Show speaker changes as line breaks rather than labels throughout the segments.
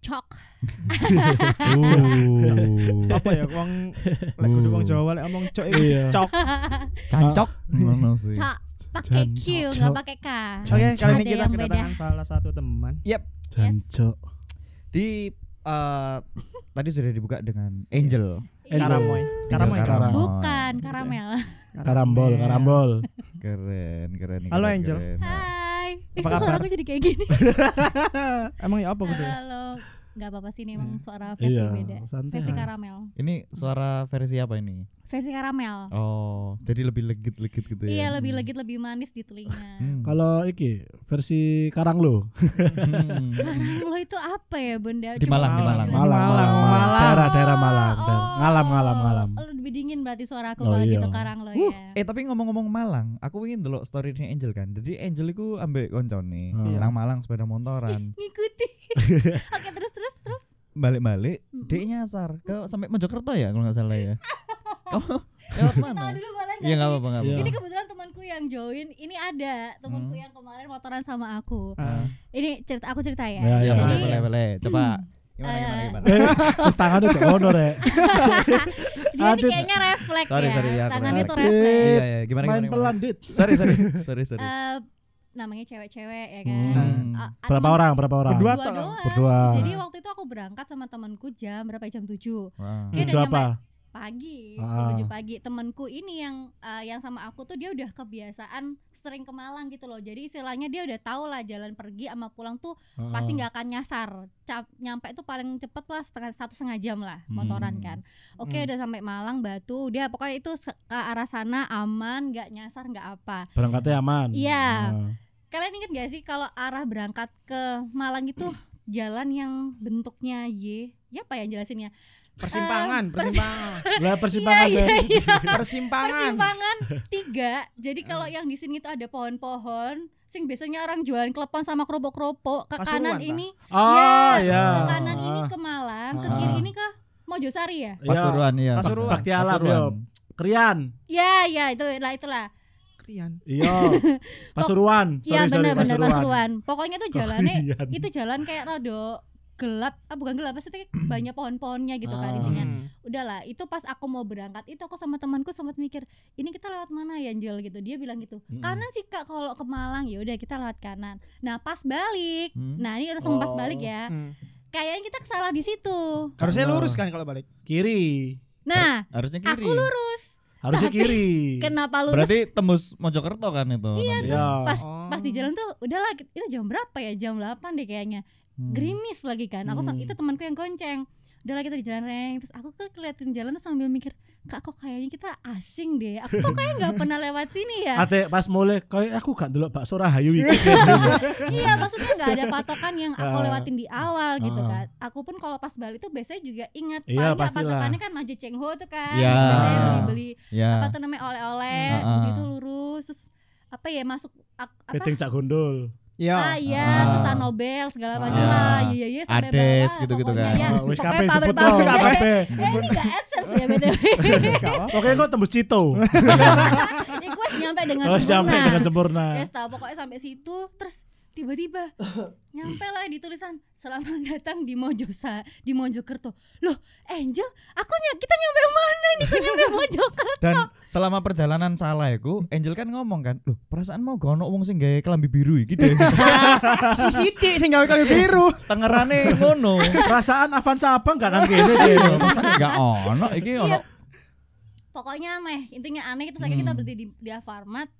cok.
apa ya wong lek kudu wong Jawa lek omong cok iku cok.
Cancok.
Ngono sih.
Cok. Pakai Q
Jancok.
nggak pakai K.
Oke, kali
Ada
ini kita
yang beda.
kedatangan salah satu teman.
Yep.
Jancok.
Di eh, tadi sudah dibuka dengan Angel.
Iya.
Karamoy. Karamoy.
Angel Karamoy.
Bukan karamel.
Iya.
Iya.
Karambol, karambol.
Keren, keren.
Halo,
keren,
Angel.
keren.
Hai.
Apa
Kok suara
kabar?
aku jadi kayak gini.
Emang ya apa kudu?
Halo, halo. Nggak apa-apa sih ini emang suara versi
Iya,
beda.
santai.
Versi karamel.
Ini suara versi apa ini?
Versi karamel.
Oh, jadi lebih legit-legit gitu ya.
Iya lebih legit lebih manis di telinga.
Kalau iki versi Karang lo,
Hmm.
Karang lo itu apa ya bunda?
Di Malang, di
beda jelas.
Malang.
Iya. Malang, Malang,
Malang.
daerah daerah Malang,
Oh,
daerah- ngalam, ngalam, ngalam.
oh, Lebih dingin berarti suara aku
Oh,
kalau
iya.
gitu karang lo ya.
Eh tapi ngomong-ngomong Malang, aku ingin dulu storynya Angel kan. Jadi Angel itu ambek koncone
Hmm.
nang Malang sepeda motoran.
Ngikuti. Oke terus terus terus.
Balik-balik, dia nyasar ke sampai Mojokerto ya kalau nggak salah ya. Oh, lewat
Tahan
mana?
dulu boleh nggak
Iya nggak
sih?
apa-apa nggak
Ini
apa-apa.
kebetulan temanku yang join. Ini ada temanku yang kemarin motoran sama aku.
Ah.
Ini cerita aku cerita ya.
Ya, ya,
Ya,
Jadi
boleh, boleh, boleh. Coba gimana gimana gimana.
Eh, terus tangannya cek ono rek.
dia ini
Adit.
kayaknya refleks
Sorry,
ya.
sorry, ya, aku
Tangannya
refleks.
tuh refleks.
Iya, iya, gimana gimana.
Eh, Main
gimana.
pelan dit.
Sorry, sorry. Sorry, sorry.
Eh, namanya cewek-cewek ya kan.
Hmm.
Ah, ah,
Berapa
teman-
orang? Berapa orang?
Berdua.
Dua
Atau-
doang.
Berdua.
Jadi waktu itu aku berangkat sama temanku jam berapa ya? jam 7.
Wah.
Kayak
Tujuh
udah
apa?
pagi,
Ah.
menuju pagi. Temanku ini yang eh, yang sama aku tuh dia udah kebiasaan sering ke Malang gitu loh. Jadi istilahnya dia udah tahu lah jalan pergi sama pulang tuh
Oh.
pasti nggak akan nyasar. Cap- nyampe tuh paling cepet lah setengah satu setengah jam lah
Hmm.
motoran kan. Oke udah sampai Malang Batu. Dia pokoknya itu se- ke arah sana aman, nggak nyasar, nggak apa.
Berangkatnya aman.
Iya.
Ah.
Kalian inget gak sih kalau arah berangkat ke Malang itu jalan yang bentuknya Y? Ya apa yang jelasinnya? Eh,
Persimpangan, persimpangan.
Lah persimpangan.
Iya,
Rek.
iya, iya.
Persimpangan.
persimpangan tiga jadi kalau
Eh.
yang di sini tuh ada pohon-pohon sing biasanya orang jualan klepon sama kerupuk-kerupuk ke kanan
Pasuruan, Pak.
ini
Oh, iya.
ke kanan ini ke Malang ke
Ah.
kiri ini ke Mojosari ya
Iya.
Pasuruan ya.
Pasuruan.
Bakti alam
Pasuruan.
yo. Krian.
ya ya itu lah itulah
Krian.
Iya. Pasuruan. Oh, iya.
ya
Sorry, sorry,
benar-benar Pasuruan pokoknya tuh jalannya
Krian.
itu jalan kayak rodo gelap ah bukan gelap maksudnya kayak banyak pohon-pohonnya gitu
Ah.
kan
Hmm.
intinya udahlah itu pas aku mau berangkat itu aku sama temanku sempat mikir ini kita lewat mana ya Angel gitu dia bilang gitu kanan sih kak kalau ke Malang ya udah kita lewat kanan nah pas balik
Hmm.
nah ini langsung pas balik
Oh.
ya
Hmm.
kayaknya kita kesalah di situ
Harusnya lurus kan kalau balik.
Kiri.
nah
Harusnya kiri.
aku lurus
Harusnya kiri.
kenapa lurus
Berarti tembus Mojokerto kan itu. Iya,
Terus
Iya.
pas pas di jalan tuh udahlah itu jam berapa ya jam 8 deh kayaknya gerimis lagi kan aku sa- itu temanku yang gonceng udahlah kita di jalan reng terus aku ke keliatin jalan tuh sambil mikir kak kok kayaknya kita asing deh aku kok kayak nggak pernah lewat sini ya
Ate pas mulai kayak aku gak delok bakso Rahayu iki.
iya maksudnya nggak ada patokan yang aku lewatin di awal gitu kan aku pun kalau pas balik tuh biasanya juga ingat paling
Iya,
nggak
pastilah.
patokannya kan Maje Cengho tuh kan
Iya.
biasanya beli beli
Iya.
apa tuh namanya oleh-oleh
Ah, ah.
habis itu lurus terus apa ya masuk ak- apa
Piting cak gondol.
Ah
Ya.
iya,
Ah.
terus Tanobel segala macam
Ah.
lah. Iya iya sampai
Ades
bawah,
gitu-gitu
pokoknya.
kan.
Ya,
Oh, wis
pokoknya
kabeh
pamer
sebut
pamer.
dong, kabeh.
Eh ini gak adsense ya btw.
Oke, kok tembus Cito.
Request nyampe dengan
Harus nyampe
sempurna.
dengan sempurna.
Ya tahu pokoknya sampai situ terus tiba-tiba nyampe lah di tulisan selamat datang di Mojosa di Mojokerto. Loh, Angel, aku ny- kita nyampe mana nih? Kok nyampe Mojokerto?
Dan selama perjalanan salah aku, Angel kan ngomong kan, "Loh, perasaan mau gono wong sing gawe kelambi biru iki deh."
Si Siti sing gawe kayu biru.
Tengerane ngono.
Perasaan Avanza apa enggak nang kene deh.
Perasaan enggak ono iki
Iya,
ono.
Pokoknya meh, intinya aneh terus akhirnya kita
Hmm.
berhenti di, di Alfamart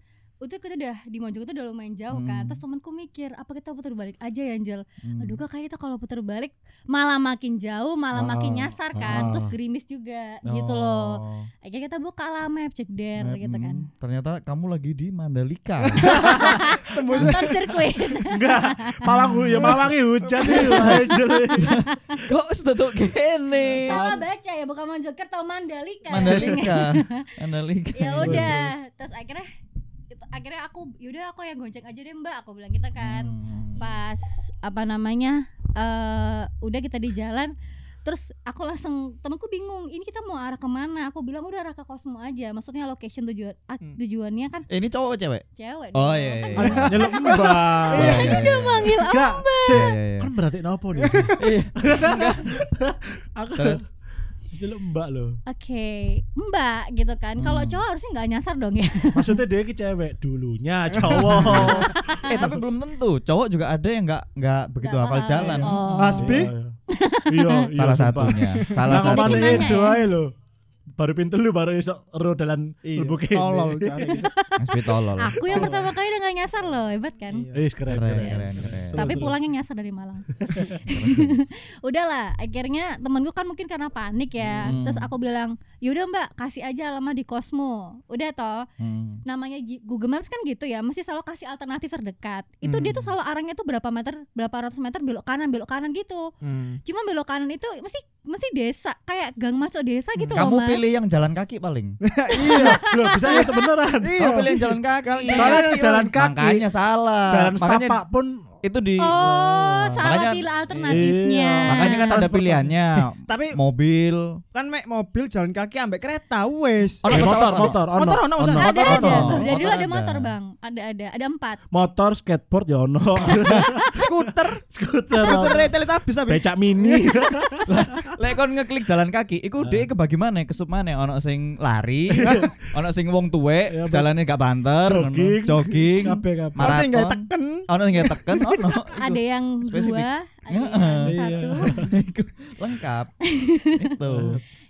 itu kita udah di Mojokerto udah lumayan jauh
Hmm.
kan terus temanku mikir apa kita putar balik aja ya Angel aduh kak kayaknya kita kalau putar balik malah makin jauh malah makin nyasar kan terus gerimis juga gitu loh
Ah, Oh.
akhirnya kita buka lah map cek der gitu kan
Hmm, Ternyata kamu lagi di Mandalika. Hmm.
nonton sirkuit
Enggak. Malang ya Malangi hujan nih. Angel.
Kok sedetok gini?
salah baca ya bukan Mojokerto Mandalika
Mandalika. Mandalika.
ya udah terus akhirnya itu- akhirnya aku yaudah aku yang gonceng aja deh mbak aku bilang gitu
Hmm.
kita kan pas apa namanya eh udah kita di jalan terus aku langsung temanku bingung ini kita mau arah kemana aku bilang udah arah ke Kosmo aja maksudnya location tujuan ah,
Hmm.
tujuannya kan
Eh, ini cowok cewek?
cewek
Oh
dong.
iya iya.
Aduh, nyeluk mbak.
Iya, iya, iya.
manggil "Oh, aku
Enggak, sih.
Iya, iya, iya.
Kan berarti nopo nih.
Iya.
Aku
Terus
nyeluk mbak loh.
oke mbak gitu kan kalau
Hmm.
cowok harusnya nggak nyasar dong ya
Maksudnya dia ki cewek dulunya cowok.
eh tapi belum tentu. Cowok juga ada yang nggak nggak begitu
Nggak
hafal
paham.
jalan. Iya,
Oh.
Aspi?
Iya, iya,
Salah
sumpah.
satunya. Salah
Nah,
satu. Jadi
kemana
satunya.
nanya
itu
ya.
aja lho. Baru pintu lu baru iso ro dalan
Iya,
lebuke.
tolol gitu. cari.
Aspi tolol.
aku yang pertama kali udah nggak nyasar loh hebat kan
Iya,
Iya. Wis keren
Keren,
keren.
keren, keren.
tapi pulangnya nyasar dari Malang udahlah akhirnya temenku kan mungkin karena panik ya
Hmm.
terus aku bilang yaudah mbak kasih aja alamat di Kosmo udah toh
Hmm.
namanya Ji- Google Maps kan gitu ya mesti selalu kasih alternatif terdekat itu
Hmm.
dia tuh selalu arahnya tuh berapa meter berapa ratus meter belok kanan belok kanan gitu
Hmm.
cuma belok kanan itu mesti mesti desa kayak gang masuk desa gitu
Hmm. Kamu
loh mas
pilih yang jalan kaki paling.
Iya, lho bisa ya beneran.
Iya.
Kamu pilih yang jalan kaki. Iya,
Soalnya jalan kaki.
Makanya salah.
Jalan
Makanya
setapak pun
itu di
oh salah
Makanya-
pilih alternatifnya
Iya.
makanya kan ada
Transportasi.
pilihannya.
Tapi
mobil,
kan mek mobil jalan kaki ambek kereta wes.
Ono
Eh,
pesawat,
Oh, motor
ono.
motor ono.
Motor ono, maksudnya.
ada
Motor
ada
ada.
tuh dari dulu
Motor
ada
ada.
motor bang ada ada ada empat
motor skateboard ya ono.
Skuter,
Skuter.
skuter
ono.
teletabis tapi.
Becak mini.
Lek kon ngeklik jalan kaki, iku dhek kebagi mana, kesup mana, ono sing lari, ono sing wong tuwek,
Ya,
jalannya gak banter, ono
Jogging.
jogging,
Kabeh, kabeh.
Ono sing nggak
maraton,
teken.
ono sing gak teken, ono. Iku-
ada yang
Spesifik.
dua ada yang
Heeh.
satu
Iya. iku lengkap. Itu.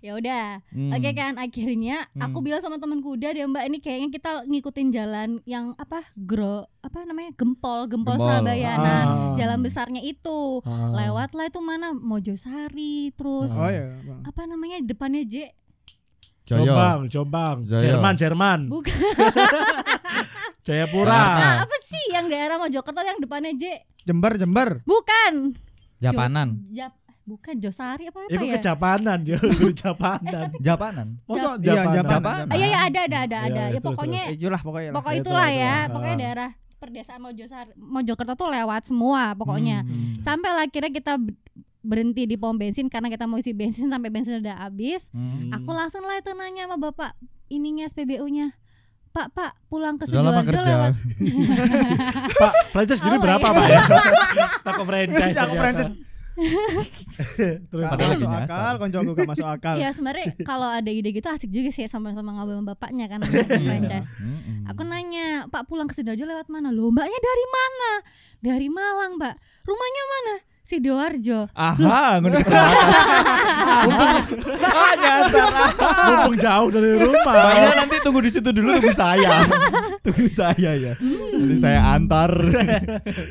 ya udah
Hmm.
oke kan akhirnya aku bilang sama temanku udah deh mbak ini kayaknya kita ngikutin jalan yang apa gro apa namanya gempol gempol,
Gempol.
Surabaya nah
Ah.
jalan besarnya itu
Ah.
lewatlah itu mana Mojosari terus
Oh iya. Bang.
apa namanya depannya J
Joyo.
Jombang, Jombang.
Joyo.
Jerman, Jerman.
Bukan.
Jayapura.
apa sih yang daerah Mojokerto yang depannya J
Jember Jember.
bukan
Japanan.
Jap bukan Josari apa apa
Iku
ya
kejapanan, yo dulu japanan.
Japanan.
Mosok
Iya,
japanan.
Japanan.
Ah, iya iya ada ada ada
Iya,
ada ya
terus, terus.
pokoknya
Itulah pokoknya. lah.
pokok
Iya,
itulah
itulah,
ya
itulah.
pokoknya
Ah.
daerah perdesaan Mojosari Mojokerto tuh lewat semua pokoknya
Hmm.
sampai lah akhirnya kita b- berhenti di pom bensin karena kita mau isi bensin sampai bensin udah habis
Hmm.
aku langsung lah itu nanya sama bapak ininya SPBU nya Pak, Pak, pulang ke
Sudah lama
Sidoarjo
kerja.
lewat
Pak, franchise gini
Oh my
berapa,
God.
Pak? ya? Toko franchise. ternyata.
Aku Francis
Terus
gak
Padahal
masuk
lagi nyasar.
akal, koncoku gak masuk akal.
Ya sebenarnya kalau ada ide gitu asik juga sih sama-sama ngobrol sama bapaknya kan ada
Iya.
franchise.
Mm-mm.
Aku nanya, Pak pulang ke Sidoarjo lewat mana? Loh, mbaknya dari mana? Dari Malang, Mbak. Rumahnya mana? Sidoarjo.
Aha, ngono keselatan. Ah, nyasar. ah.
mumpung jauh dari rumah.
Makanya nanti tunggu di situ dulu tunggu saya. tunggu saya ya. Nanti saya antar.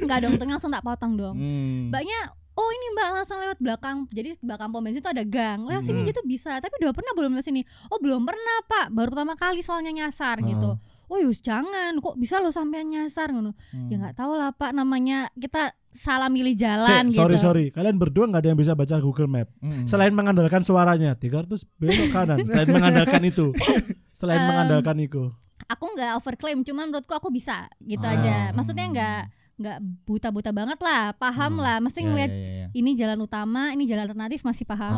Enggak dong, tengah langsung tak potong dong.
Hmm.
Mbaknya Oh ini mbak langsung lewat belakang Jadi belakang pom bensin itu ada gang Lewat sini
Hmm.
gitu bisa Tapi udah pernah belum lewat sini Oh belum pernah pak Baru pertama kali soalnya nyasar gitu
Hmm.
Oh yus jangan Kok bisa lo sampean nyasar ngono Ya nggak tahu lah pak Namanya kita salah milih
Cek,
jalan gitu
sorry sorry, kalian berdua nggak ada yang bisa baca Google Map.
Hmm.
Selain mengandalkan suaranya, 300 belok kanan. Selain mengandalkan itu,
Eh.
selain mengandalkan itu,
Aku nggak overclaim Cuman menurutku aku bisa gitu
Ah.
aja Maksudnya nggak nggak buta-buta banget lah Paham lah Mesti
Ya, Ah.
ngeliat
ya, ya, ya.
Ini jalan utama Ini jalan alternatif masih paham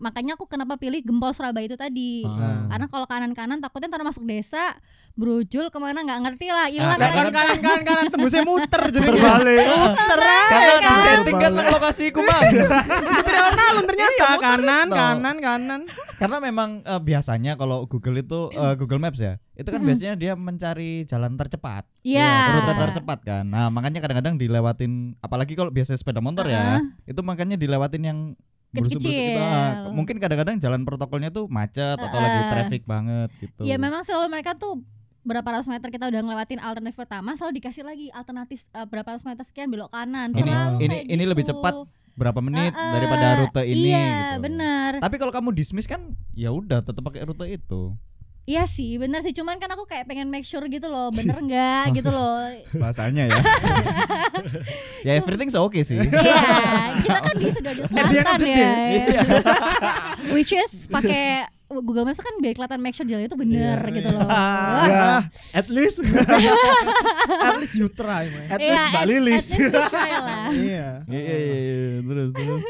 makanya aku kenapa pilih gempol Surabaya itu tadi
Ah. Hmm.
karena kalau kanan-kanan takutnya ntar masuk desa brojol kemana nggak ngerti lah hilang
Nah,
lah
Kan
kita.
kanan kanan kanan tembusnya muter jadi
terbalik.
Karena di setting kan lokasiku bang.
gitu. Tidak nalun ternyata
Iya, muter
kanan
itu.
kanan kanan.
Karena memang eh, biasanya kalau Google itu eh, Google Maps ya, itu
Hmm.
kan biasanya dia mencari jalan tercepat,
Iya.
rute tercepat kan. Nah makanya kadang-kadang dilewatin, apalagi kalau biasanya sepeda motor
Ah.
ya, itu makanya dilewatin yang
Kecil-kecil.
berusuk-berusuk gitu. Ah, ke- mungkin kadang-kadang jalan protokolnya tuh macet atau lagi
Ah,
traffic banget gitu.
ya memang selalu mereka tuh berapa ratus meter kita udah ngelewatin alternatif pertama selalu dikasih lagi alternatif eh, berapa ratus meter sekian belok kanan
ini
selalu
ini
kayak
ini
gitu.
lebih cepat berapa menit
Ah, ah,
daripada rute ini
iya
gitu.
bener
Tapi kalau kamu dismiss kan ya udah tetap pakai rute itu.
iya sih bener sih cuman kan aku kayak pengen make sure gitu loh bener nggak gitu loh
Bahasanya ya. ya everything's okay sih.
Iya, kita kan di Sidoarjo
Nah,
Selatan ya.
Iya.
ya. Which is pakai Google Maps kan biar kelihatan make sure jalan itu bener
Iya,
gitu
Ah,
loh. Wah. Iya,
Ya, at least,
At least you
ya,
try man.
at
Iya,
least Mbak
at-
Lilis.
at least we try lah.
Iya.
Iya iya iya terus terus.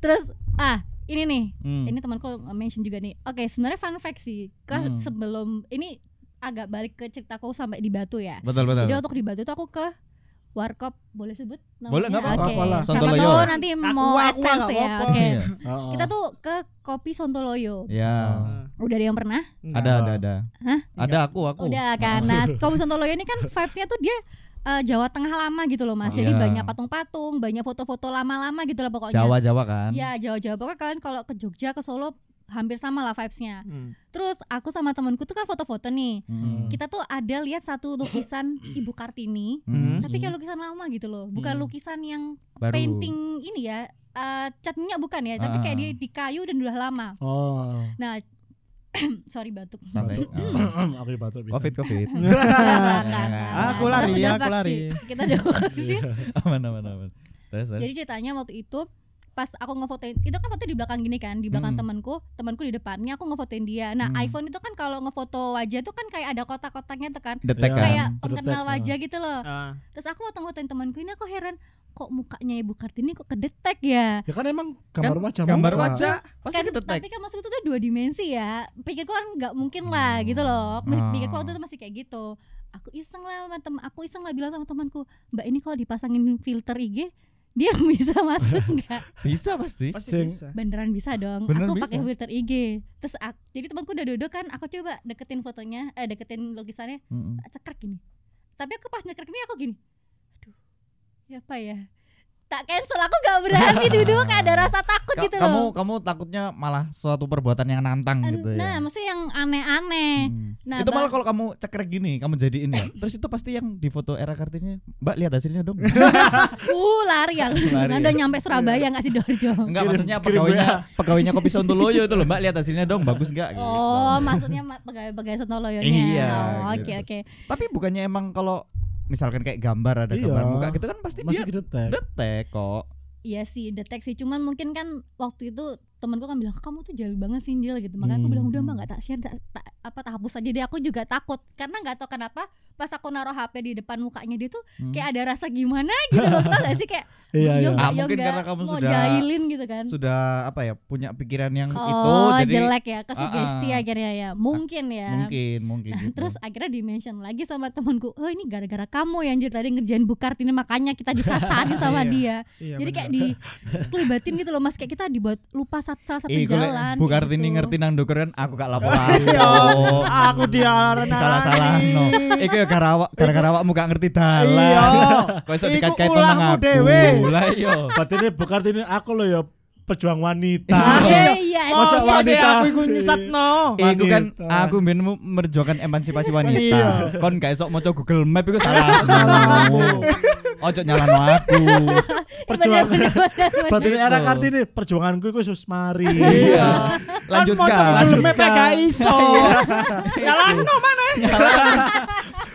Terus ah ini nih
Hmm.
ini temanku mention juga nih oke sebenarnya fun fact sih ke
Hmm.
sebelum ini agak balik ke ceritaku sampai di Batu ya
Betul betul.
jadi untuk di Batu tuh aku ke warkop boleh sebut namanya
Boleh, nggak apa-apa.
Oke.
Apalah.
siapa
Sontoloyo.
tahu nanti mau
Aqua, aqua,
adsense
nggak
ya
apa-apa.
oke
Iya.
kita tuh ke kopi Sontoloyo
Ya.
udah ada yang pernah
Ada ada ada.
Hah?
Ada aku aku.
Udah kan. Nah, Kampung Sontoloyo ini kan vibes-nya tuh dia eh, Jawa Tengah lama gitu loh Mas. Jadi
Iya.
banyak patung-patung, banyak foto-foto lama-lama gitu loh pokoknya.
Jawa Jawa kan.
Ya, Jawa-Jawa pokoknya kalian kalau ke Jogja, ke Solo hampir sama lah vibes-nya.
Hmm.
Terus aku sama temanku tuh kan foto-foto nih.
Hmm.
Kita tuh ada lihat satu lukisan Ibu Kartini,
Hmm.
tapi kayak lukisan lama gitu loh. Bukan lukisan yang
Baru.
painting ini ya. eh, cat minyak bukan ya, tapi kayak
Ah.
dia di kayu dan udah lama.
Oh.
Nah, sorry batuk.
Santai. Ah.
Aku batuk bisa.
Covid covid.
Enggak, enggak, enggak, enggak.
Aku
Kita
lari,
sudah
aku lari.
vaksin. Kita udah
Iya.
vaksin.
aman aman aman. Terus terus.
Jadi ceritanya waktu itu pas aku ngefotoin itu kan foto di belakang gini kan di belakang
Hmm.
temanku temanku di depannya aku ngefotoin dia nah iPhone itu kan kalau ngefoto wajah tuh kan kayak ada kotak-kotaknya tuh kan
Detek
Ya.
kayak
kan.
pengenal
Terdetek,
wajah gitu
Ah.
loh terus aku waktu ngefotoin temanku ini aku heran kok mukanya ibu kartini kok kedetek ya
Ya kan emang gambar wajah.
Gambar
muka.
wajah. Pasti
kan,
kedetek.
tapi kan maksud itu tuh dua dimensi ya pikirku kan nggak mungkin lah gitu loh
Hmm.
pikirku waktu itu masih kayak gitu aku iseng lah sama temen aku iseng lah bilang sama temanku mbak ini kalau dipasangin filter IG dia bisa masuk nggak
Bisa pasti.
Kan
Pasti
Sing.
bisa.
beneran bisa dong
Beneran
aku
bisa.
pakai filter IG terus aku, jadi temanku udah duduk kan aku coba deketin fotonya eh deketin lukisannya
Mm-mm.
tak cekrek gini tapi aku pas nyekrek ini aku gini aduh ya apa ya tak cancel aku nggak berani tiba-tiba kayak ada rasa takut
Ka-
gitu
kamu
loh
kamu takutnya malah suatu perbuatan yang nantang gitu ya. Hmm.
nah maksudnya yang aneh-aneh nah
itu malah
ba-
kalau kamu cekrek gini, kamu jadiin ya. Terus itu pasti yang di foto era kartini, Mbak lihat hasilnya dong.
uh lari aku
Lari ya.
udah nyampe Surabaya nggak sih dorjo
Enggak
Kirim-
maksudnya
kirim
pegawainya pegawainya kopi Sontoloyo itu loh, Mbak lihat hasilnya dong, bagus enggak gitu.
oh maksudnya ma- pegawai-pegawai Sontoloyonya
Iya,
Oh, oke
gitu.
oke
Tapi bukannya emang kalau misalkan kayak gambar ada
Iya.
gambar muka gitu kan pasti
Masih
dia
kedetek.
detek kok.
Iya sih deteksi cuman mungkin kan waktu itu temenku kan bilang kamu tuh jahil banget sinjil gitu makanya aku bilang udah mbak nggak tak share tak, tak- apa tak hapus aja dia aku juga takut karena nggak tahu kenapa pas aku naruh HP di depan mukanya dia tuh kayak ada rasa gimana gitu loh tau gak sih kayak
Iya,
yo nggak,
iya.
Hmm. Ah,
yo
mungkin
nggak,
karena kamu
mau
sudah-
jahilin gitu kan
Sudah apa ya, punya pikiran yang itu
oh
Gitu, jadi
jelek ya kesugesti
Ah, ah.
akhirnya ya mungkin ya
mungkin mungkin.
Nah,
gitu.
terus akhirnya di mention lagi sama temanku oh ini gara-gara kamu yang jadi tadi ngerjain bukart ini makanya kita disasarin sama
Iya.
dia
Iya,
jadi
benar.
kayak di sekelibatin gitu loh mas kayak kita dibuat lupa sat- salah satu
Ih, golek
jalan
Bu
kayak
Kartini
gitu.
ngerti nang dokeran aku gak lapor
Iya,
aku.
aku diarani.
Salah-salah no. Iku ya gara awak gara-gara awakmu gak ngerti dalan.
Iya.
Kok iso
Iku
dikait-kaitno
ulahmu
nang
dewe.
aku. Lah iya.
Batinnya bukan ini aku loh ya pejuang
Oh.
wanita.
Iya,
Ah,
iya.
Masa
Masa
sih
wanita?
aku iku nyesatno.
Iku kan
Wanita.
aku mbien mu- merjuangkan emansipasi wanita.
Iya.
Kon gak esok maca Google Map iku salah salahmu. Ojo nyalano aku.
Perjuangan.
Bener, bener, bener, bener.
Batinnya era kartini perjuanganku itu sus mari.
Iya.
Kan
Lanjutkan.
mau gak iso.
Oh,
Ya Nyalano mana?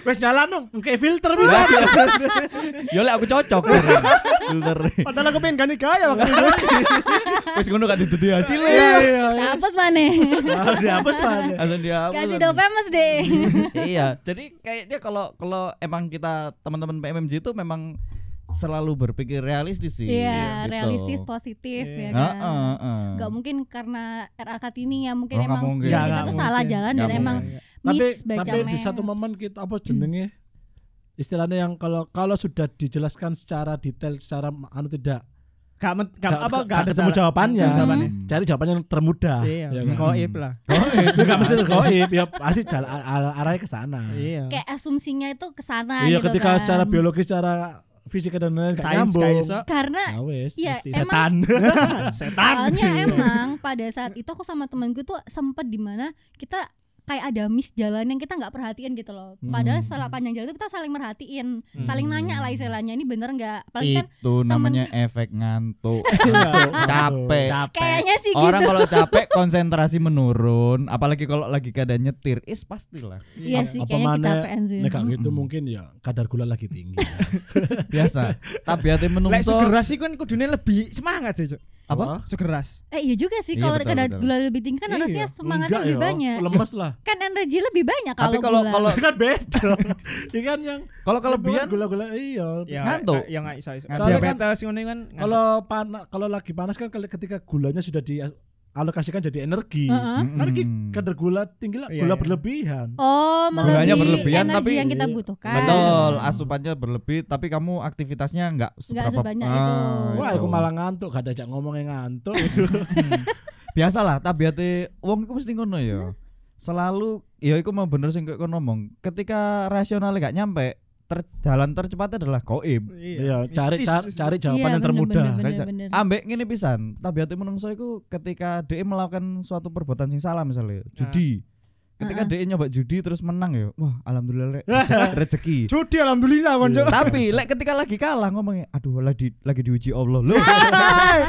Wes jalan dong, kayak filter bisa.
Iya. Yo lek aku cocok. Filter.
Padahal aku pengen ganti gaya waktu itu.
Wis ngono gak dituti hasilnya.
Iya iya.
Tak hapus mana
Malah dihapus mana?
Langsung dia
gak sih do famous deh
iya jadi kayaknya kalau kalau emang kita teman-teman PMMG itu memang selalu berpikir realistis sih
iya
gitu.
realistis positif ya
Heeh,
kan
heeh.
Gak mungkin karena RA Kartini ya mungkin
Hmm. Oh, nggak
emang
mungkin.
kita
Nggak,
tuh
nggak
salah
mungkin.
jalan
Nggak
dan emang
Tapi
miss baca
tapi di
maps.
satu momen kita apa jenenge? Istilahnya yang kalau kalau sudah dijelaskan secara detail secara anu tidak
Gak men- gak
Gak-
apa
gak-
gak
gak ketemu
salah.
jawabannya. Hmm.
Gak jawabannya.
Cari jawabannya yang termudah.
Iya,
Ya kan?
goib lah.
Ya nggak mesti tergoib, ya pasti jalan ar- arahnya ke sana.
Iya.
kayak asumsinya itu kesana Nah,
Iya,
gitu
ketika
kan.
secara biologis, secara fisika dan lain-lain nggak
Sains
nyambung.
gak iso.
karena
Ya wes,
Iya,
mesti
emang-
setan.
soalnya emang pada saat itu aku sama temanku tuh sempet dimana kita kayak ada miss jalan yang kita nggak perhatiin gitu loh
Hmm.
padahal setelah panjang jalan itu kita saling merhatiin saling nanya lah istilahnya ini bener nggak apalagi kan Iya.
itu namanya efek ngantuk capek
kayaknya sih
orang
gitu
kalau capek konsentrasi menurun apalagi kalau lagi keadaan nyetir is pastilah
iya sih
Apa
kayaknya
mana,
kecapean sih
nek gak gitu mungkin ya kadar gula lagi tinggi.
biasa tabiatnya
Lek
menungso
segera sih kan kudune lebih semangat sih, Cuk.
Apa?
segeras
Eh iya juga sih
Iya,
kalau
betul,
kadar
betul.
gula lebih tinggi kan
Iya.
harusnya semangatnya
Enggak
lebih
ya,
banyak.
Lemes lah.
Kan energi lebih banyak kalau
Tapi kalau
gula.
kalau
kan beda. Iya kan yang
kalau kelebihan
gula-gula iya.
ya
Ngantuk.
ya nggak iso iso
Soalnya kan-
diabetes ngono kan ngantuk.
Kalau panas kalau lagi panas kan kali- ketika gulanya sudah dialokasikan jadi energi.
Heeh.
Kan ki kadar gula tinggi lah,
Iya,
gula
iya.
berlebihan.
Oh, melebihi
berlebihan,
energi
tapi-
yang kita butuhkan.
betul asupannya berlebih tapi kamu aktivitasnya nggak seberapa Ah,
sebanyak itu.
Wah,
itu.
aku malah ngantuk, gak ada ajak ngomongnya ngantuk. Iya.
biasalah tabiate wong iku mesti ngono ya. Selalu ya iku mau bener sing kok kon ngomong. Ketika rasionalnya gak nyampe, ter, jalan tercepat adalah goib.
Iya, cari
mistis.
cari, cari jawaban
Iya,
yang termudah.
bener-bener.
Kan,
bener.
Ambek ngene pisan, tabiate menungso iku ketika dia melakukan suatu perbuatan sing salah misalnya judi.
Nah.
Ketika dia nyoba judi terus menang ya, wah alhamdulillah Rek, rejeki- rezeki.
judi alhamdulillah kon Cok.
Tapi lek ketika lagi kalah ngomongnya aduh lagi lagi diuji Allah loh.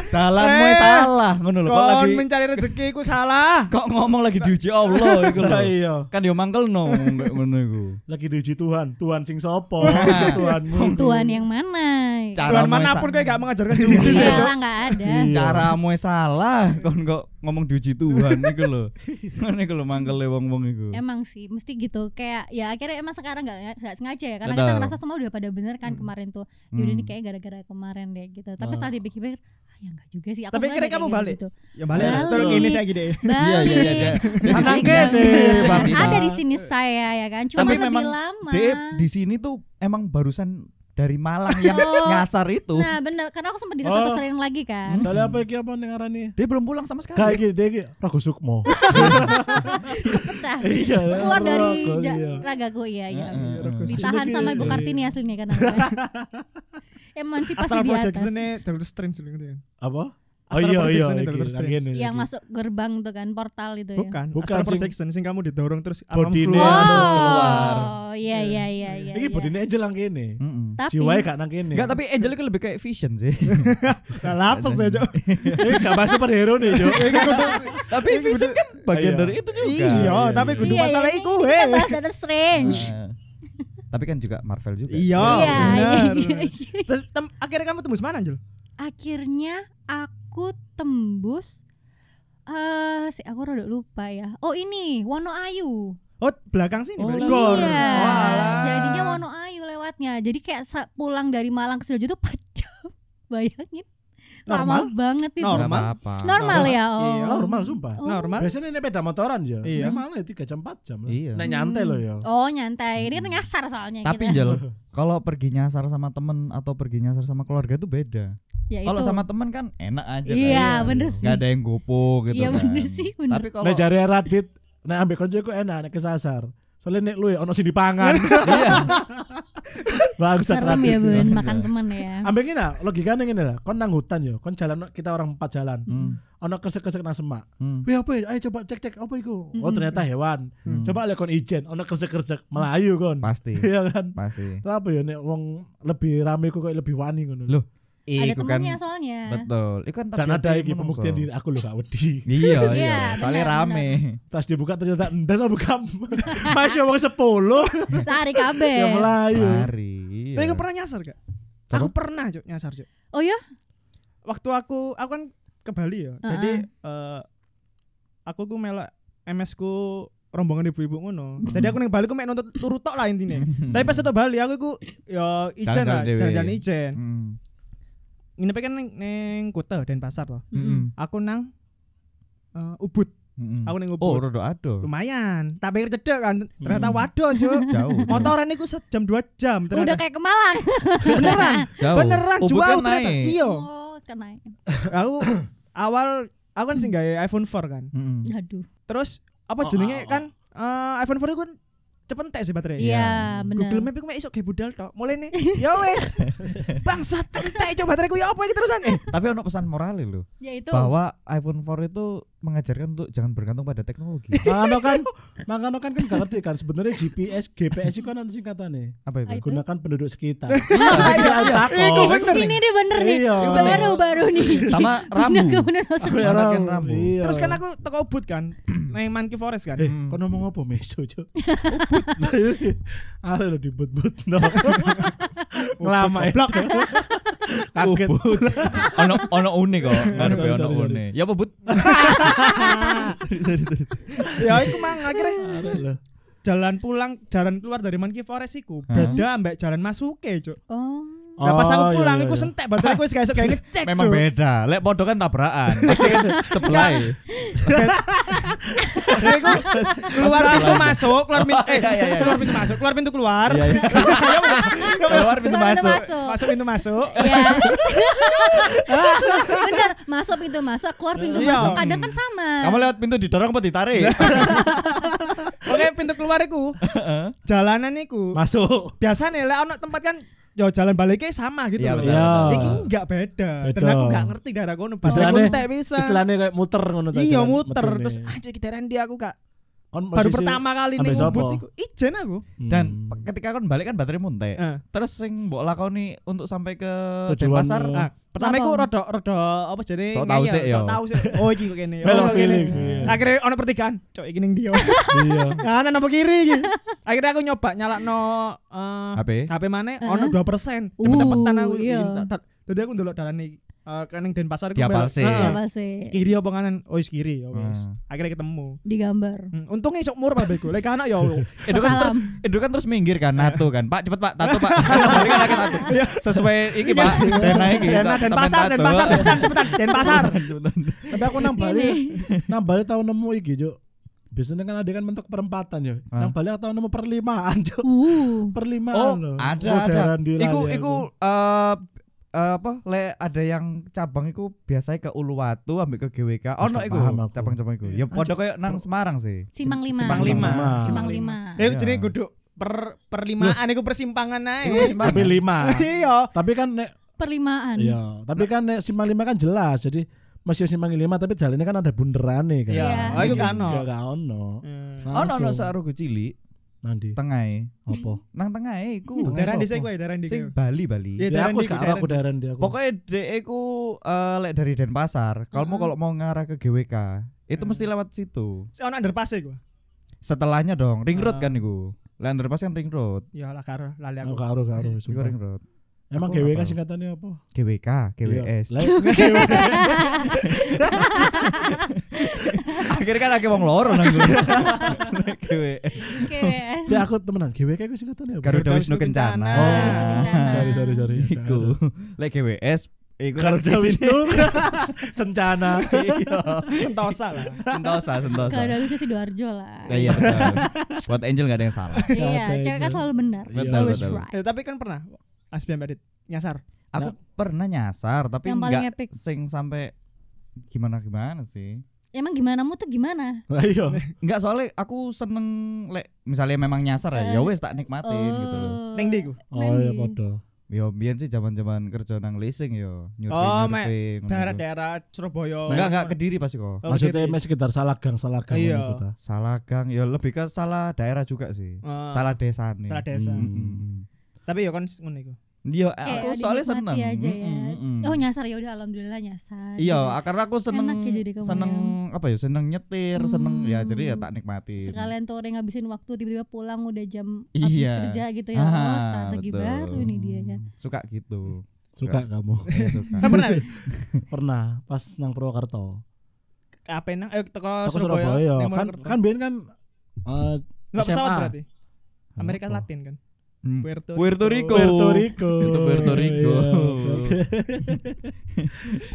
Dalammu
Eh.
salah ngono lho kok
kon
lagi
mencari rezeki iku salah
kok ngomong lagi diuji Allah iku lho.
Lah iya.
Kan yo mangkelno ngomong kayak ngono iku.
Lagi diuji Tuhan, Tuhan sing sopo? Tuhanmu.
Tuhan yang mana?
Tuhan
Caramu
manapun
gitu.
sa-
kowe gak mengajarkan judi
Iya
Cok.
lah nggak ada.
Iya.
caramu salah kon kok ngomong diuji Tuhan iku lho. Ngono iku lho mangkele wong-wong iku.
Emang sih, mesti gitu. Kayak ya akhirnya emang sekarang nggak nggak sengaja ya, karena kita
Betul. Hmm.
ngerasa semua udah pada bener kan kemarin tuh. Yaudah ini kayak gara-gara kemarin deh gitu. Tapi
Oh.
setelah dipikir-pikir, ah ya nggak juga sih. Aku
Tapi
kemarin
akhirnya
kayak
kamu
gitu.
balik? ya
Balik.
terus gini saya gini
Balik.
iya, iya, iya.
Ada
Dia
di sini.
yang
Anaknya deh, sebangsa.
Ada di sini saya ya kan. Cuma
Tapi
lebih
memang
lama.
Dep di sini tuh emang barusan dari Malang yang
Oh.
nyasar itu.
Nah bener, karena aku sempat
Oh.
disasar-sasarin lagi kan.
Hmm.
Soalnya apa iki apa ning ngarani?
Dia belum pulang sama
Kayak
sekali.
gini deh, iki, Ragu Sukmo.
Pecah.
Iya.
Keluar dari
Ragu,
ja-
iya.
ragaku ya ya.
Ragu
Ditahan
Sukmo.
sama Ibu Kartini aslinya kan. Emansipasi
iya. asal
di
project
atas.
sini Doctor Strange lho, gitu ya.
Apa? Oh iya
Astral
iya.
Projection-nya
iki,
Doctor
yang
Strange.
gini,
Yang
iki.
masuk gerbang tuh kan, portal itu ya.
bukan
Bukan,
Astral
sing-
Projection sing kamu didorong terus alam
Body
keluar
keluar.
Oh, iya iya iya iya.
Iki
iya.
bodine Angel nang kene.
Mm-mm.
Tapi
Jiwae
kan?
gak nang kene.
Enggak, tapi Angel itu lebih kayak vision sih.
nah lapes ya Cok.
Ini gak bahas superhero nih, Cok.
tapi vision kan bagian
Iya.
dari itu juga.
iya tapi kudu
Iya,
masalah
iya,
iku
ini
weh Mm.
Kita bahas Doctor Strange.
Nah, tapi kan juga Marvel juga.
iya
Iya,
bener.
iya,
Terus tem- akhirnya kamu tembus mana Jul?
Akhirnya aku tembus eh si aku rada lupa ya. Oh ini Wono Ayu.
oh belakang sini
Oh,
berarti.
Gor.
Iya.
Walah.
Jadinya Wono Ayu lewatnya. Jadi kayak sa- pulang dari Malang ke Sidoarjo itu 4 jam. Bayangin. Lama banget itu.
Nggak
Normal.
apa-apa.
Normal ya. Oh.
Iya.
Normal sumpah.
Oh.
normal
Biasanya ini peda motoran ya.
Iya.
Malah 3 jam 4 jam. lah.
Iya.
Nek nyantai loh ya.
Oh nyantai. Ini kan nyasar soalnya
Tapi
kita.
Angel, kalau pergi nyasar sama temen atau pergi nyasar sama keluarga itu beda.
Ya,
Kalau
itu.
sama temen kan enak aja.
Iya,
kan.
bener
Nggak
sih.
ada yang gopo gitu
Iya,
kan.
bener sih, bener.
Tapi kalau
Nek jare Radit, nek ambek konco iku enak nek kesasar. Soalnya nek luwe ono sing dipangan.
Iya.
Bagus
Serem ya
kan
bun makan temen ya.
Ambek ngene lah, logikane ngene lah. Kon nang hutan yo, kon jalan kita orang empat jalan. Ono kesek-kesek nang semak.
Hmm.
Wih apa ya? Ayo coba cek-cek apa iku?
Hmm.
Oh ternyata hewan. Coba lihat kon ijen, ono kesek-kesek Melayu kon.
pasti,
Iya kan?
pasti.
Lah apa ya nek wong lebih rame ku kok lebih wani ngono.
Loh,
Ada
iku
temennya soalnya.
kan Betul. Iku kan
dan
tabiate
ada iki
menungso.
pembuktian diri aku lho gak wedi.
Iya,
Iya,
iya.
benar,
Soalnya
benar.
rame.
Terus dibuka ternyata ndas aku buka. Masih wong 10
Lari kabeh.
ya Melayu.
Lari. iya.
tapi kamu pernah nyasar gak? aku pernah Cok nyasar Cok
Oh ya?
waktu aku aku kan ke Bali ya. Jadi eh, aku ku melak MS ku rombongan ibu-ibu ngono. Jadi aku ning Bali ku mek nuntut turu tok lah intine. Tapi pas tutup Bali aku ku ya ijen lah,
Jalan-jalan dewe.
jalan-jalan ijen.
Mm.
Nginep kan ning ning Kuta Denpasar to.
Mm-mm.
Aku nang eh, Ubud.
Mm-mm.
Aku ning
Oh,
Ubud.
rodo ado.
Lumayan. Tak pikir cedek kan. Ternyata waduh, Cuk.
Jauh.
Motoran iku sejam dua jam
Udah
ternyata.
kayak ke Malang.
beneran.
Jauh.
Beneran
Ubud
jauh
kan
ternyata.
naik.
Iya.
Oh, kena.
Aku awal aku kan sing gawe iPhone 4 kan.
Mm-mm.
Aduh.
Terus apa jenenge kan eh, iPhone 4 ku kan cepentek sih baterai.
Iya, bener.
Google Map iku mek iso ge budal tok. Mulai nih, ya wes. Bangsat entek coba bateraiku ya apa iki terusan? Eh,
Tapi ono pesan moral lho.
Yaitu
bahwa iPhone 4 itu mengajarkan untuk jangan bergantung pada teknologi.
Mangano kan, mangano kan kan gak ngerti kan sebenarnya GPS, GPS itu kan ada singkatannya.
Apa itu?
Itu.
Gunakan penduduk sekitar. Iya,
iku
takut.
Oh, bener.
ini dia bener nih.
Iya.
Baru-baru nih.
Sama rambu.
Bener-bener langsung.
Iya. Gunakan rambu.
Iya.
Terus kan aku teko Ubud kan, nang Monkey Forest kan.
eh, kau ngomong apa meso cok? Ada lo dibut-but no. Lama ya.
Blok.
Kaget.
Ubud. ono ono unik kok. Ngarepe
Oh, Sorry,
ono
sorry, sorry.
unik. Ya apa but?
ya iku mang akhirnya
Arek loh.
jalan pulang, jalan keluar dari Monkey Forest iku beda ambek jalan masuke, Cuk.
Oh.
Lah pas aku
Oh, iya,
pulang
iya,
iku
iya.
sentek badan aku wis gak iso kayak ngecek.
Memang
Cuk.
beda. Lek podo kan tabrakan. Pasti
Ya.
kan sebelah.
Maksudnya iku keluar
Masuk
pintu
lagi.
masuk, keluar pintu eh
iya, iya, iya.
keluar pintu masuk, keluar pintu keluar.
Iya, iya. Keluar pintu
Keluar
masuk.
Masuk pintu masuk.
Iya. Bener, masuk pintu masuk, keluar pintu
Iya.
masuk. Kadang kan sama.
Kamu lewat pintu didorong apa ditarik?
Ya.
Oke, pintu keluar iku. Jalanan iku.
Masuk.
Biasanya lek ono tempat kan yo jalan baliknya sama gitu
Iya,
loh.
benar,
Iya.
Iki enggak beda. Dan
Beda.
aku enggak ngerti daerah kono. Pas aku
Istilahnya
entek bisa.
Istilahnya kayak muter ngono ta,
Iya
jalan
muter
meterne.
terus anjir daerah dia aku gak
Kon
baru
posisi- Hmm.
pertama kali nih
ambil sopo?
ngubut iku. Ijen aku.
Dan pe- ketika kon balik kan baterai muntek.
Eh.
Terus sing mbok lakoni untuk sampai ke
Tujuan
Denpasar.
mu.
Ah, pertama
Lapang.
iku rada rada apa jadi
Oh. Sok tau
ngeyel,
sik, yo.
sok tau sik. Oh iki kok kene.
Well,
Oh, kok
feeling,
kene.
iya.
Akhirnya ono pertigaan, cok iki ning dia.
Iya.
Kanan apa kiri iki? Akhirnya aku nyoba nyalakno eh,
HP.
HP mana ono 2%.
Uh,
Cepet-cepetan aku.
iya.
Jadi aku ndelok dalan iki. Eh, kan ning Denpasar aku belok.
Diapal sik.
Heeh.
Apa sih?
Iya.
Kiri apa kanan? Oh, is kiri. Oh, wis.
Hmm.
Akhirnya ketemu.
Digambar.
Hmm, Untungnya isuk mur Pak Bego. Lek anak ya Allah.
Edo kan
Salam.
terus Edo kan terus minggir
Eh.
kan nato kan. Pak cepet Pak, tato Pak. Balik kan lagi tato.
Ya. Iya.
Sesuai iki Pak, dana iki.
Dan
tak-
dan
sampean
pasar,
tato.
dan pasar, cepetan, cepetan, dan pasar.
Cepetan.
Tapi aku nang Bali, nang Bali tau nemu iki, Cuk. Biasanya kan ada kan mentok perempatan ya. Nang Bali aku tau nemu perlimaan, Cuk.
Uh.
Perlimaan
Oh,
loh.
ada
Oh,
ada.
daerah di
Iku
lali
iku
aku.
eh, eh, apa le ada yang cabang iku biasanya ke Uluwatu ambil ke GWK. Ono
gak
iku
paham aku.
cabang-cabang iku. Ya padha koyo nang Semarang sih.
Simpang lima.
Simpang lima.
Simpang lima.
Eh jadi kudu per perlimaan iku persimpangan
Iku
ae.
Semarang.
Tapi lima.
Iya.
tapi kan nek
Perlimaan.
Iya, tapi kan nek Simpang 5 kan jelas. Jadi masih Simpang 5 tapi jalannya kan ada bunderane kan.
Iya. Oh, iku kan ono.
Enggak gak ono.
Hmm.
Ono ono
Langsung.
sarugu cilik
Nandi.
tengahe.
Apa?
Nang tengahe iku.
Tengah
Daerah
sopo?
dhisik kuwi, daerah
Sing
dhisik.
Bali Bali.
Iya.
Ya
daerah
aku
ndi,
sekarang aku
daerah
daerah ndi aku.
Pokoknya DE ku eh, lek dari Denpasar, kalau mau kalau mau ngarah ke GWK, itu mesti lewat situ.
Ono underpass iku.
Setelahnya dong, ring
Ah.
road kan iku. Lek Denpasar kan ring road.
Ya lah karo lali
aku Oh,
aku.
Oh.
karo karo
Iku
sumpah.
ring road.
Emang
Aku
GWK
nggak
singkatannya apa?
GWK, GWS.
Iya. Lah,
Akhirnya kan akeh wong loro nang gue. GWS.
Oke.
sih, aku temenan GWK itu singkatannya apa? Ah,
Garuda Wisnu
Kencana.
Kencana. Oh.
Garuda Wisnu Kencana.
sorry sorry sorry.
Iku. Lek GWS iku kan
Garuda
di sini.
Wisnu Sencana.
Iya.
Sentosa lah.
Sentosa, sentosa.
Kalau dari Sidoarjo lah.
Nah, iya betul. Buat Angel gak ada yang salah.
Iya,
Garuda
cewek kan
itu.
selalu benar.
Betul,
Always
Iya, betul.
right.
Eh, tapi kan pernah Asbian Badit nyasar.
Aku pernah nyasar tapi
Yang paling
enggak
epic.
sing sampai gimana gimana sih.
Emang gimana mu tuh gimana?
Lah iya.
Enggak soalnya aku seneng lek misalnya memang nyasar
Iya.
ya, ya wes tak nikmatin gitu loh.
Ning ndi iku?
Oh iya padha.
Yo biyen sih zaman-zaman kerja nang leasing yo nyurvey
Oh, mek
nyurvey. ngono gitu.
daerah-daerah Surabaya.
Enggak enggak kediri pasti kok.
Oh,
Maksudnya
Kediri.
mes sekitar Salagang Salagang
Iya.
ngono kita.
Salah gang, ya lebih ke salah daerah juga sih.
Ah.
salah desa nih.
Salah desa.
Mm-mm.
Tapi ya kan ngono iku.
Hmm.
Iya,
Kayak
aku soalnya seneng.
dinikmati aja ya.
Mm-mm, mm-mm.
Oh nyasar ya udah alhamdulillah nyasar.
Hmm. Iya, karena aku seneng
Enak ya Hmm. jadi kamu
seneng apa ya? Seneng nyetir, seneng ya jadi ya tak nikmati.
Sekalian tuh orang ngabisin waktu tiba-tiba pulang udah jam habis
Iya.
kerja gitu ya.
Ah,
oh, strategi
betul.
baru nih dia ya.
Suka gitu.
Suka kamu.
Iya, suka.
Kan pernah nih?
Pernah pas nang
Oh,
Purwokerto.
Apa nang? Ayo teko
Aku
Surabaya.
Surabaya.
ning
Kan
Mojokerto.
kan biyen kan eh,
Enggak pesawat
SMA.
berarti. Amerika
Apa?
Latin kan.
Hmm.
Puerto
Puerto Rico.
Puerto Rico.
Itu Puerto Rico.
Iya, oke.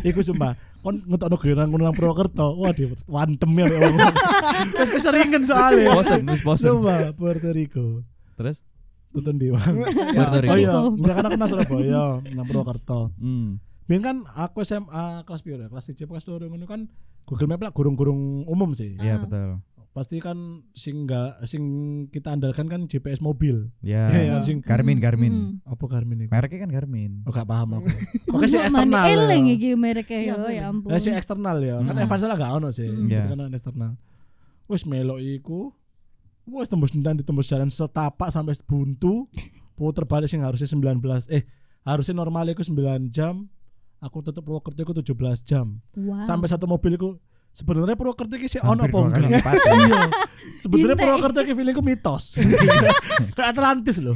Iku sumpah kon ngetokno giliran kon nang Purwokerto. Wah, di wantem ya. wong. Wis keseringan soalnya.
Bosen, wis bosen.
Sumpah Puerto Rico.
Terus
Tutun di Wang.
Puerto
Oh
Rico.
iya, enggak kan aku nang Surabaya, nang Purwokerto.
Hmm.
Biyen kan aku SMA kelas piro ya? Kelas 1 kelas 2 ngono kan Google Map lah gurung-gurung umum sih.
Ah.
Iya, betul.
Pasti kan sing enggak sing kita andalkan kan GPS mobil. Iya, iya.
Ya. Garmin,
Hmm.
Garmin.
Apa Garmin itu?
Mereknya kan Garmin.
Oh, gak paham aku.
Kok
Oke sih eksternal. ya.
Eleng iki mereka yo ya ampun.
Lah sih eksternal ya. Kan Evan salah gak ono sih.
Iya.
Itu kan eksternal. Wis melok iku. Wis tembus ndan ditembus jalan setapak sampai buntu. Puter balik sing harusnya 19 eh harusnya normal iku 9 jam. Aku tutup Purwokerto iku 17 jam.
Wow.
Sampai satu mobil iku sebenarnya Purwokerto iki sih ono
Hampir
apa
dua
enggak?
kali lipat. ya.
Iya. Sebenarnya
Intek.
Purwokerto iki feelingku mitos. Kayak Atlantis loh.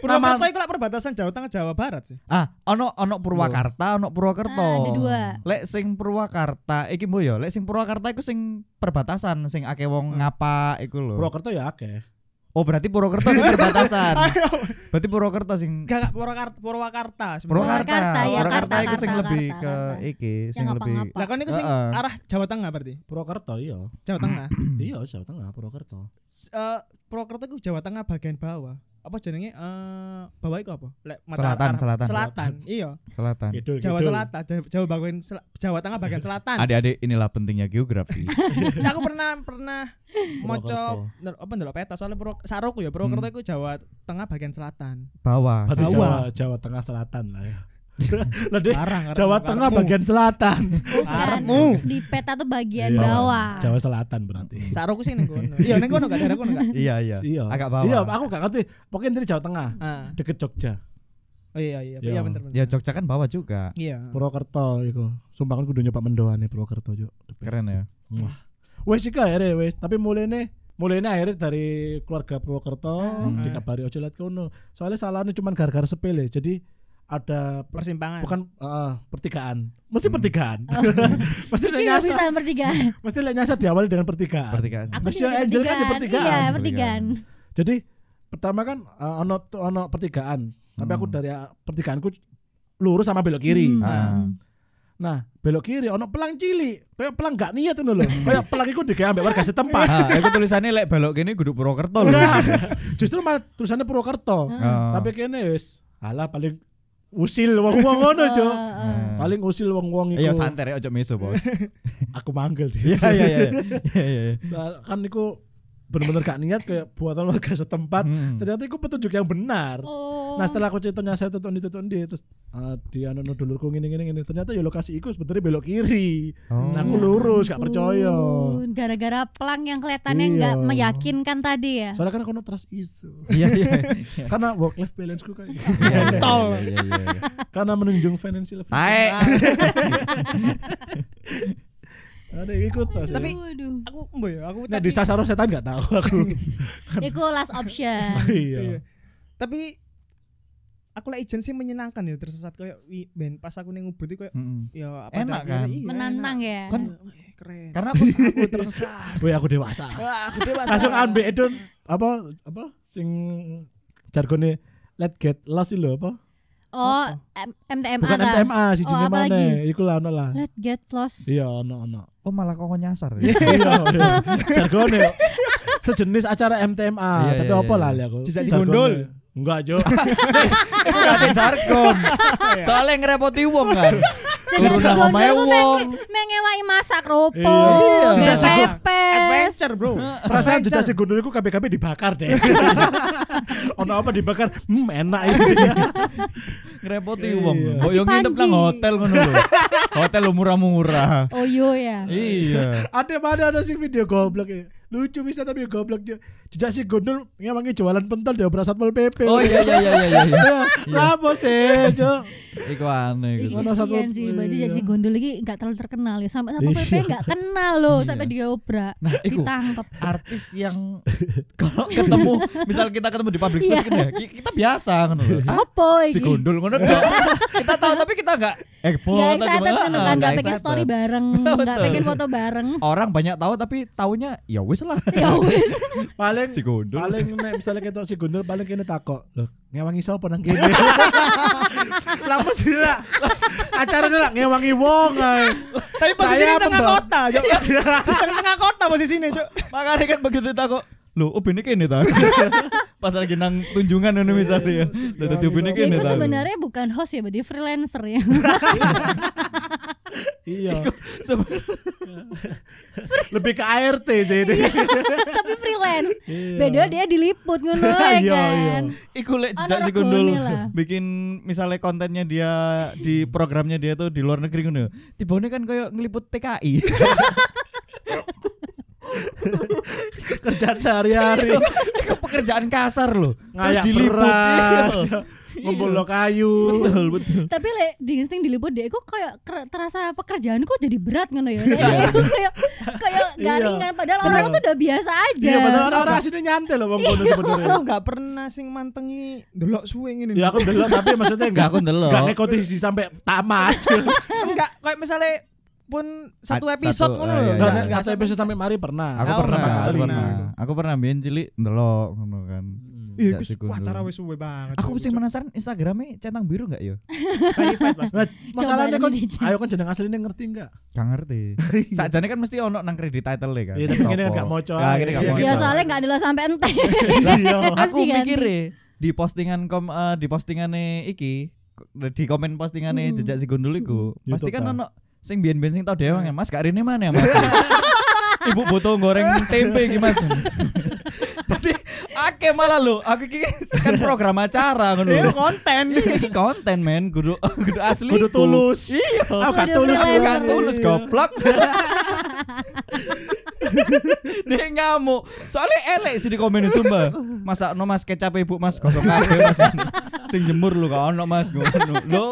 Purwokerto
Nama-
itu lah perbatasan Jawa Tengah Jawa Barat sih.
Ah, ono ono Purwakarta, ono Purwokerto.
Ah, ada dua.
Lek sing Purwakarta, iki mbo yo, lek sing Purwakarta iku sing perbatasan sing akeh
Hmm.
wong ngapa iku lho.
Purwokerto ya akeh.
oh, berarti Purwokerto sing perbatasan. berarti Purwokerto sing
Enggak enggak Purwakarta Purwakarta. sebenarnya.
Purwakarta.
Purwakarta, ya,
Purwakarta
Karta,
iku sing
Karta,
lebih
Karta,
ke
Karta.
iki,
Yang
sing lebih
ngapa-ngapa.
Lah kan niku sing
Heeh.
arah Jawa Tengah berarti.
Purwokerto iya.
Jawa Tengah.
Iya, Jawa Tengah Purwokerto.
S- eh, Purwokerto itu Jawa Tengah bagian bawah. Apa jenenge? Eh bawah itu apa? Lek
Selatan,
arah-
selatan.
Selatan. Iya.
selatan.
Kidul,
Jawa
kidul.
Selatan, Jawa, Jawa bagian sel- Jawa Tengah bagian selatan.
Adik-adik inilah pentingnya geografi.
Nah, aku pernah pernah
Purwokerto.
moco nel- apa ndelok peta soalnya Purwo Saroku ya Purwokerto itu Jawa Tengah bagian selatan.
Bawah.
Berarti
Jawa.
Jawa, Jawa Tengah Selatan lah ya. Lah, Dek, Jawa
Parang, karena karena
Tengah
karena-
bagian selatan.
bukan
Arahmu.
di peta tuh bagian
Iya.
bawah
Jawa Selatan berarti.
Saroku sih ning kono. Iya, ning kono gak daerah kono gak?
iya, iya.
Iya.
Agak bawah.
Iya, aku gak ngerti. Pokoknya dari Jawa Tengah,
Ah.
deket Jogja.
Oh iya iya,
Iya.
iya bener bener.
ya Jogja kan bawah juga.
Iya.
Purwokerto iku. Sumpah aku kudu nyoba mendoane Purwokerto yo.
Keren ya.
Wah. Wes iki akhirnya wes, tapi mulene mulene akhirnya dari keluarga Purwokerto
Hmm.
dikabari ojo lihat kono. Soalnya salahnya cuman gara-gara sepele. Jadi ada
Nah.
per-
Persimpangan.
bukan eh, pertigaan. Mesti pertigaan.
Oh.
mesti
Jadi
lek
nggak
nyasar,
bisa bertiga
mesti lek nyasar diawali dengan pertigaan.
Pertigaan.
aku
Mas,
juga
ya, Angel kan di pertigaan.
iya pertigaan
Jadi pertama kan eh, ono ono pertigaan. Tapi
Hmm.
aku dari eh, pertigaanku lurus sama belok kiri.
Hmm.
Ah.
Nah, belok kiri ono pelang cilik. Kayak pelang gak niat ngono lho. Kayak pelang iku digawe ambek warga setempat.
Ah, itu tulisannya lek balok kene kudu Purwokerto lho.
Nah, justru malah tulisannya Purwokerto.
Hmm.
Ah.
Tapi kene wis alah paling usil wong-wong ngono,
Ah,
Cuk. Paling usil wong-wong
Iya
iku.
santai aja meso, Bos.
Aku manggil di.
Iya, iya, iya. Iya, iya, iya.
Nah, kan iku bener-bener gak niat kayak buatan warga setempat. Ternyata iku petunjuk yang benar.
oh
Nah setelah aku ceritanya saya tutup di tutup di terus eh, di anu anu dulurku gini gini gini ternyata ya lokasi iku sebenarnya belok kiri. Nah aku lurus
Iya.
gak percaya.
Ampun, gara-gara pelang yang kelihatannya
Iya.
nggak meyakinkan tadi ya
Iya.
Soalnya kan kono trust isu.
Iya, iya.
karena work life balance ku kayak gitu.
Tol.
Iya, iya, iya.
karena menunjung financial
Tae.
Ah,
ada ikut tas
Tapi-
waduh
Aku mbo ya, aku
nah
tadi-
di sasaro setan nggak tahu aku
itu last option
Iya.
iya
Tapi aku lah ijen sih menyenangkan ya tersesat kayak wi ben pas aku ning ubud iki kayak
Mm-mm.
ya apa
Enak
dapurnya,
kan?
iya,
menantang
enak.
ya
Kan
Eh, keren.
karena aku aku tersesat.
Wih aku dewasa
Wah, aku dewasa.
langsung ambil itu apa apa sing jargonnya let get lost itu lho apa
oh M- MTMA
bukan
ta?
MTMA si
oh
jenis
apa
mana
lagi
iku lah ono lah
let get lost
iya ono ono
Oh, malah kok nyasar.
iya
ya?
iya. jargonnya sejenis acara
Iya,
MTMA tapi
iya,
apa
iya.
lah li aku
Jejak
Jargonnya.
digondol.
enggak jo
Itu gak ada jargon. Soalnya ngerepoti wong kan.
Jajan
Turun nang
digondol
omahe
tuh
wong.
menge- mengewai masak rupo
Iya.
gak
Jejak digondol.
pepes
adventure, Bro.
Perasaan jejak si gundul itu kabeh-kabeh dibakar deh. ono apa dibakar? Hmm, enak itu.
Ngerepoti wong.
Iya.
Kok yo
Masih
nginep
Panji.
nang hotel ngono lho. Hotel lo murah-murah.
oh yo ya
Iya.
ada mana ada sih video goblok ini? Lucu bisa tapi goblok dia. Jejak si gundul ngemangi jualan pentol dia berasat satpol PP.
Oh iya iya iya iya iya.
Lapo sih, Cuk?
Iku aneh gitu.
Ono satu-
Kasian sih, berarti
Iya.
jadi gondol lagi nggak terlalu terkenal ya. Sampai sampai
Iya.
PP nggak kenal loh, sampai diobrak,
Nah, iku.
ditangkap.
artis yang kalau ketemu misal kita ketemu di public space
Iya.
kan ya ki- kita biasa ngono lho. Ah,
Sopo
si
iki?
gondol ngono dong. kita tahu tapi kita enggak eh
Gak
foto
excited kan,
gimana?
kan
Nggak
gak pengen
excited.
story bareng, gak
Betul. Oh,
pengen foto bareng.
orang banyak tahu tapi taunya ya wis lah
Ya wes.
Paling
Si gundul.
Paling nek misalnya ketok si gundul paling kene takok. Loh, ngewangi sapa nang kene? Lapo sih lah. Acaranya lah ngewangi wong ae.
Tapi posisinya
Saya
di tengah
pembawa-
kota, Cuk. Di tengah kota posisinya, Cuk.
makanya kan begitu takut lo oh bini kene ta pas lagi nang tunjungan ngono misalnya ya lo tadi bini kene
Itu
ta
sebenarnya bukan host ya, berarti freelancer ya.
Iya.
Sebenarnya- Iya,
Lebih ke ART sih ini.
Tapi freelance. Beda dia diliput ngono ya
Iya, iya.
kan.
Iku lek
Ono
jejak si
regone
Gundul
lah.
bikin misalnya kontennya dia di programnya dia tuh di luar negeri ngono. Tibone kan kayak ngeliput TKI.
Kerjaan sehari-hari.
Iku pekerjaan kasar loh. Terus
Ngayak
Iya. diliput.
beras.
Iya.
ngumpulno kayu.
betul betul
tapi lek di insting diliput deh kok kayak ker- terasa pekerjaan kok jadi berat ngono ya Dek, kok kayak kayak garingan padahal orang tuh udah biasa aja
Iya, padahal orang-orang aslinya nyantai loh wong kono sebenarnya.
Aku nggak pernah sing mantengi delok suwe ngene.
Ya aku delok tapi maksudnya
enggak aku ndelok
Gak ngikuti sampai tamat.
enggak kayak misalnya pun satu
Satu,
episode ngono lho.
eh, iya,
Gak,
iya.
Nggak-
ya, satu episode sampai mari pernah.
aku
Aku
pernah
pernah
aku
kali.
pernah aku pernah biyen cilik ndelok ngono kan
Iya,
Gak
kus-
sekunder.
wah cara wis suwe banget.
aku sih penasaran Instagramnya centang biru nggak yo
Verified pasti. Nah, masalahnya
Coba
kan
ini dicek.
ayo kan jeneng aslinya ngerti enggak?
Gak ngerti. Sakjane kan mesti ono nang kredit title kan.
Iya, tapi kene
Sopo.
gak moco
Ya,
ae.
kene gak
Iya,
moco.
ya soalnya nggak delok sampai enteng
Iya.
aku
Pasti kan.
mikir di postingan kom eh, di postingane iki ko- di komen
Hmm.
postingane jejak si Gundul
Hmm,
iku
YouTube
pasti kan
ta.
ono sing biyen-biyen sing tau dhewe Mas gak rene mana ya Mas. Ibu butuh goreng tempe iki Mas. Tapi ake malah lo, aku iki kan program acara ngono
Iya,
lho.
konten.
Iya, Iki konten men, kudu kudu asli.
Kudu tulus.
Gitu. Iya.
Aku gak
Kudu
tulus
freelance.
aku.
Gak tulus goblok. Dia ngamuk. Soalnya elek sih di komen sumpah. Masa no mas kecap ibu mas gosok kabeh mas. Sing jemur lu gak ono mas ngono. Lo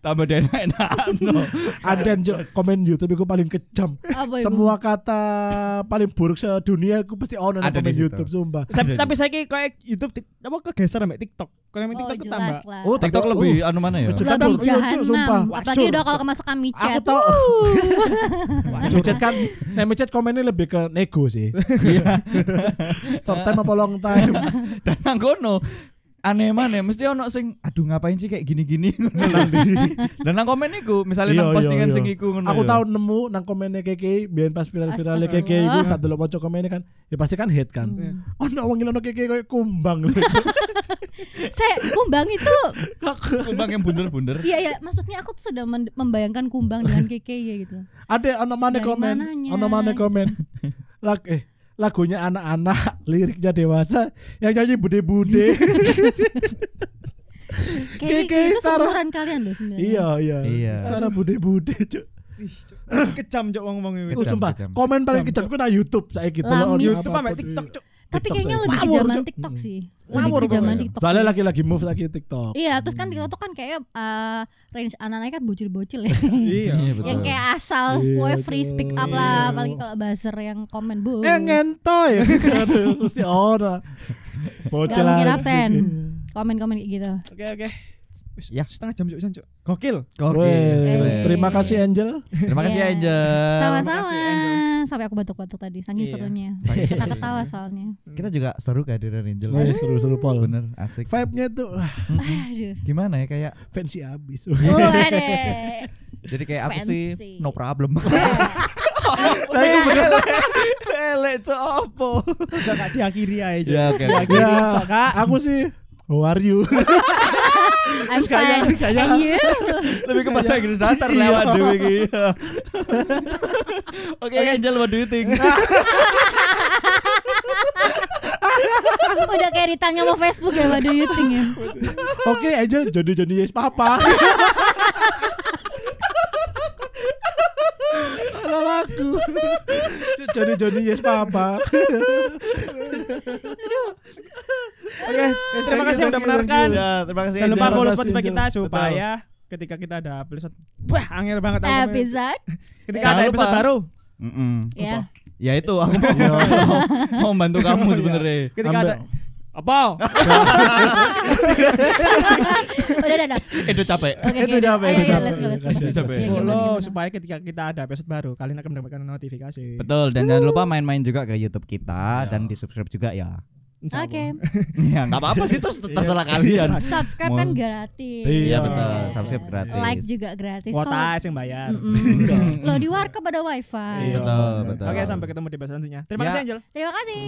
tambah enak no.
Ada yang jo- komen YouTube aku paling kejam.
Apa itu?
Semua kata paling buruk sedunia aku pasti ono nang
Ada di
komen
situ.
YouTube sumpah.
Sa- Tapi saya kayak YouTube ti- apa kegeser sama TikTok. Kalau sama
oh
TikTok itu tambah.
jelas lah
Oh,
TikTok
tapi-
lebih anu mana ya?
Betul.
lebih
Tapi aku lucu, sumpah.
jahanam apalagi
Waduh.
udah kalau masuk kami
Aku
chat
tau.
Wuh.
Nek micet kan, nek micet komennya lebih ke nego sih.
Iya.
Short time apa long time?
Dan nang kono aneh mana mesti ono sing aduh ngapain sih kayak gini-gini ngono. Dan nang komen iku misalnya
Iya, iya,
nang postingan
iya.
sing iku ngono.
Aku
ya.
tahu nemu nang komennya Keke, biar pas viral-viral Keke iku tak delok maca komennya kan. Ya pasti kan hate kan.
Hmm.
Ono wong ngilono Keke koyo kumbang lho.
saya kumbang itu
kumbang yang bunder-bunder.
iya iya maksudnya aku tuh sedang men- membayangkan kumbang dengan keke ya gitu
Ada ono mana
Dari
komen?
mananya?
Ono mana komen? Lag eh lagunya anak-anak, liriknya dewasa, yang nyanyi bude-bude.
Keke,
Keke
itu
setara-
seumuran kalian loh sebenarnya
iya, iya.
Iya.
Setara bude-bude, Cuk.
Ih, Cuk. kejam cok wong-wong itu.
Oh,
Kejam,
sumpah,
kejam.
komen paling kejam ku nang YouTube saiki
Lamis.
YouTube sama TikTok cok.
tapi
TikTok
kayaknya
saya.
lebih ke
Ngawur, Hmm.
zaman
Cok.
TikTok sih lebih
Ngawur
ke zaman
pokoknya.
TikTok
Soalnya lagi-lagi move lagi TikTok.
Iya, terus kan TikTok tuh kan kayak eh, range anak-anak kan bocil-bocil ya.
Iya.
yang kayak asal
Iya,
gue free
tuh.
speak up lah, apalagi kalau buzzer yang komen bu.
Eh ngentoy. Aduh, Mesti ora.
Gak
Bocil
mungkin
aja.
absen. Komen-komen kayak gitu.
Oke oke. Wis,
Iya,
Ya.
setengah jam cok, pisan, cok. Gokil.
Wes,
Oke.
terima kasih Angel.
Terima kasih
Iya.
Angel.
Sama-sama.
kasih, Angel.
Sampai aku batuk-batuk tadi, saking
Iya.
serunya.
Saking
Kita
serunya.
ketawa soalnya.
Kita juga seru kehadiran Angel.
Wes, seru-seru Pol.
Bener asik.
Vibe-nya tuh ah,
Aduh. Oh,
Gimana ya kayak
fancy abis.
Ya.
Waduh.
jadi kayak aku
Fancy.
sih no problem. Elek cok opo.
Bisa gak diakhiri aja cok.
Ya oke.
Diakhiri
Ya.
sok, Kak.
Aku sih How are you?
I'm fine. And you?
Lebih ke
Iya.
bahasa Inggris dasar lewat dewe iki. Oke Iya, Angel what do you think?
Udah kayak ditanya mau Facebook ya, waduh you think ya.
Oke Angel, jodoh-jodoh yes papa. Salah aku. Jodoh-jodoh yes papa.
Oke, terima kasih yang udah menarikan.
Ya, terima kasih.
Jangan lupa
Angel.
Terima
follow
kasih,
Spotify kita
Angel.
supaya ketika kita ada episode wah angin banget aku.
Episode.
Ketika
Jangan
ada episode
lupa.
baru.
Mm-mm.
Ya.
Ya itu aku mau mau membantu kamu sebenarnya.
Ketika
Ambil.
ada apa?
Udah, udah, udah.
Itu Eh, capek.
Oke,
Itu
oke, udah.
capek,
Ayo,
itu
ayo,
capek.
let's go, let's go. Let's
Kasih
go.
capek.
Ya, gimana,
Follow
gimana?
supaya ketika kita ada episode baru kalian akan mendapatkan notifikasi.
Betul dan jangan lupa main-main juga ke YouTube kita dan di-subscribe juga ya.
Insya
Oke.
Allah.
Ya nggak apa-apa sih terus terserah kalian.
Subscribe kan gratis.
Iya,
Iya betul, subscribe gratis.
Like juga gratis.
Kuota
Kalau
yang bayar.
Mm-mm. lo di warkop ada wifi.
Betul, betul.
Oke, sampai ketemu di episode selanjutnya. Terima
Ya.
kasih Angel.
Terima kasih.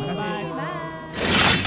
Bye.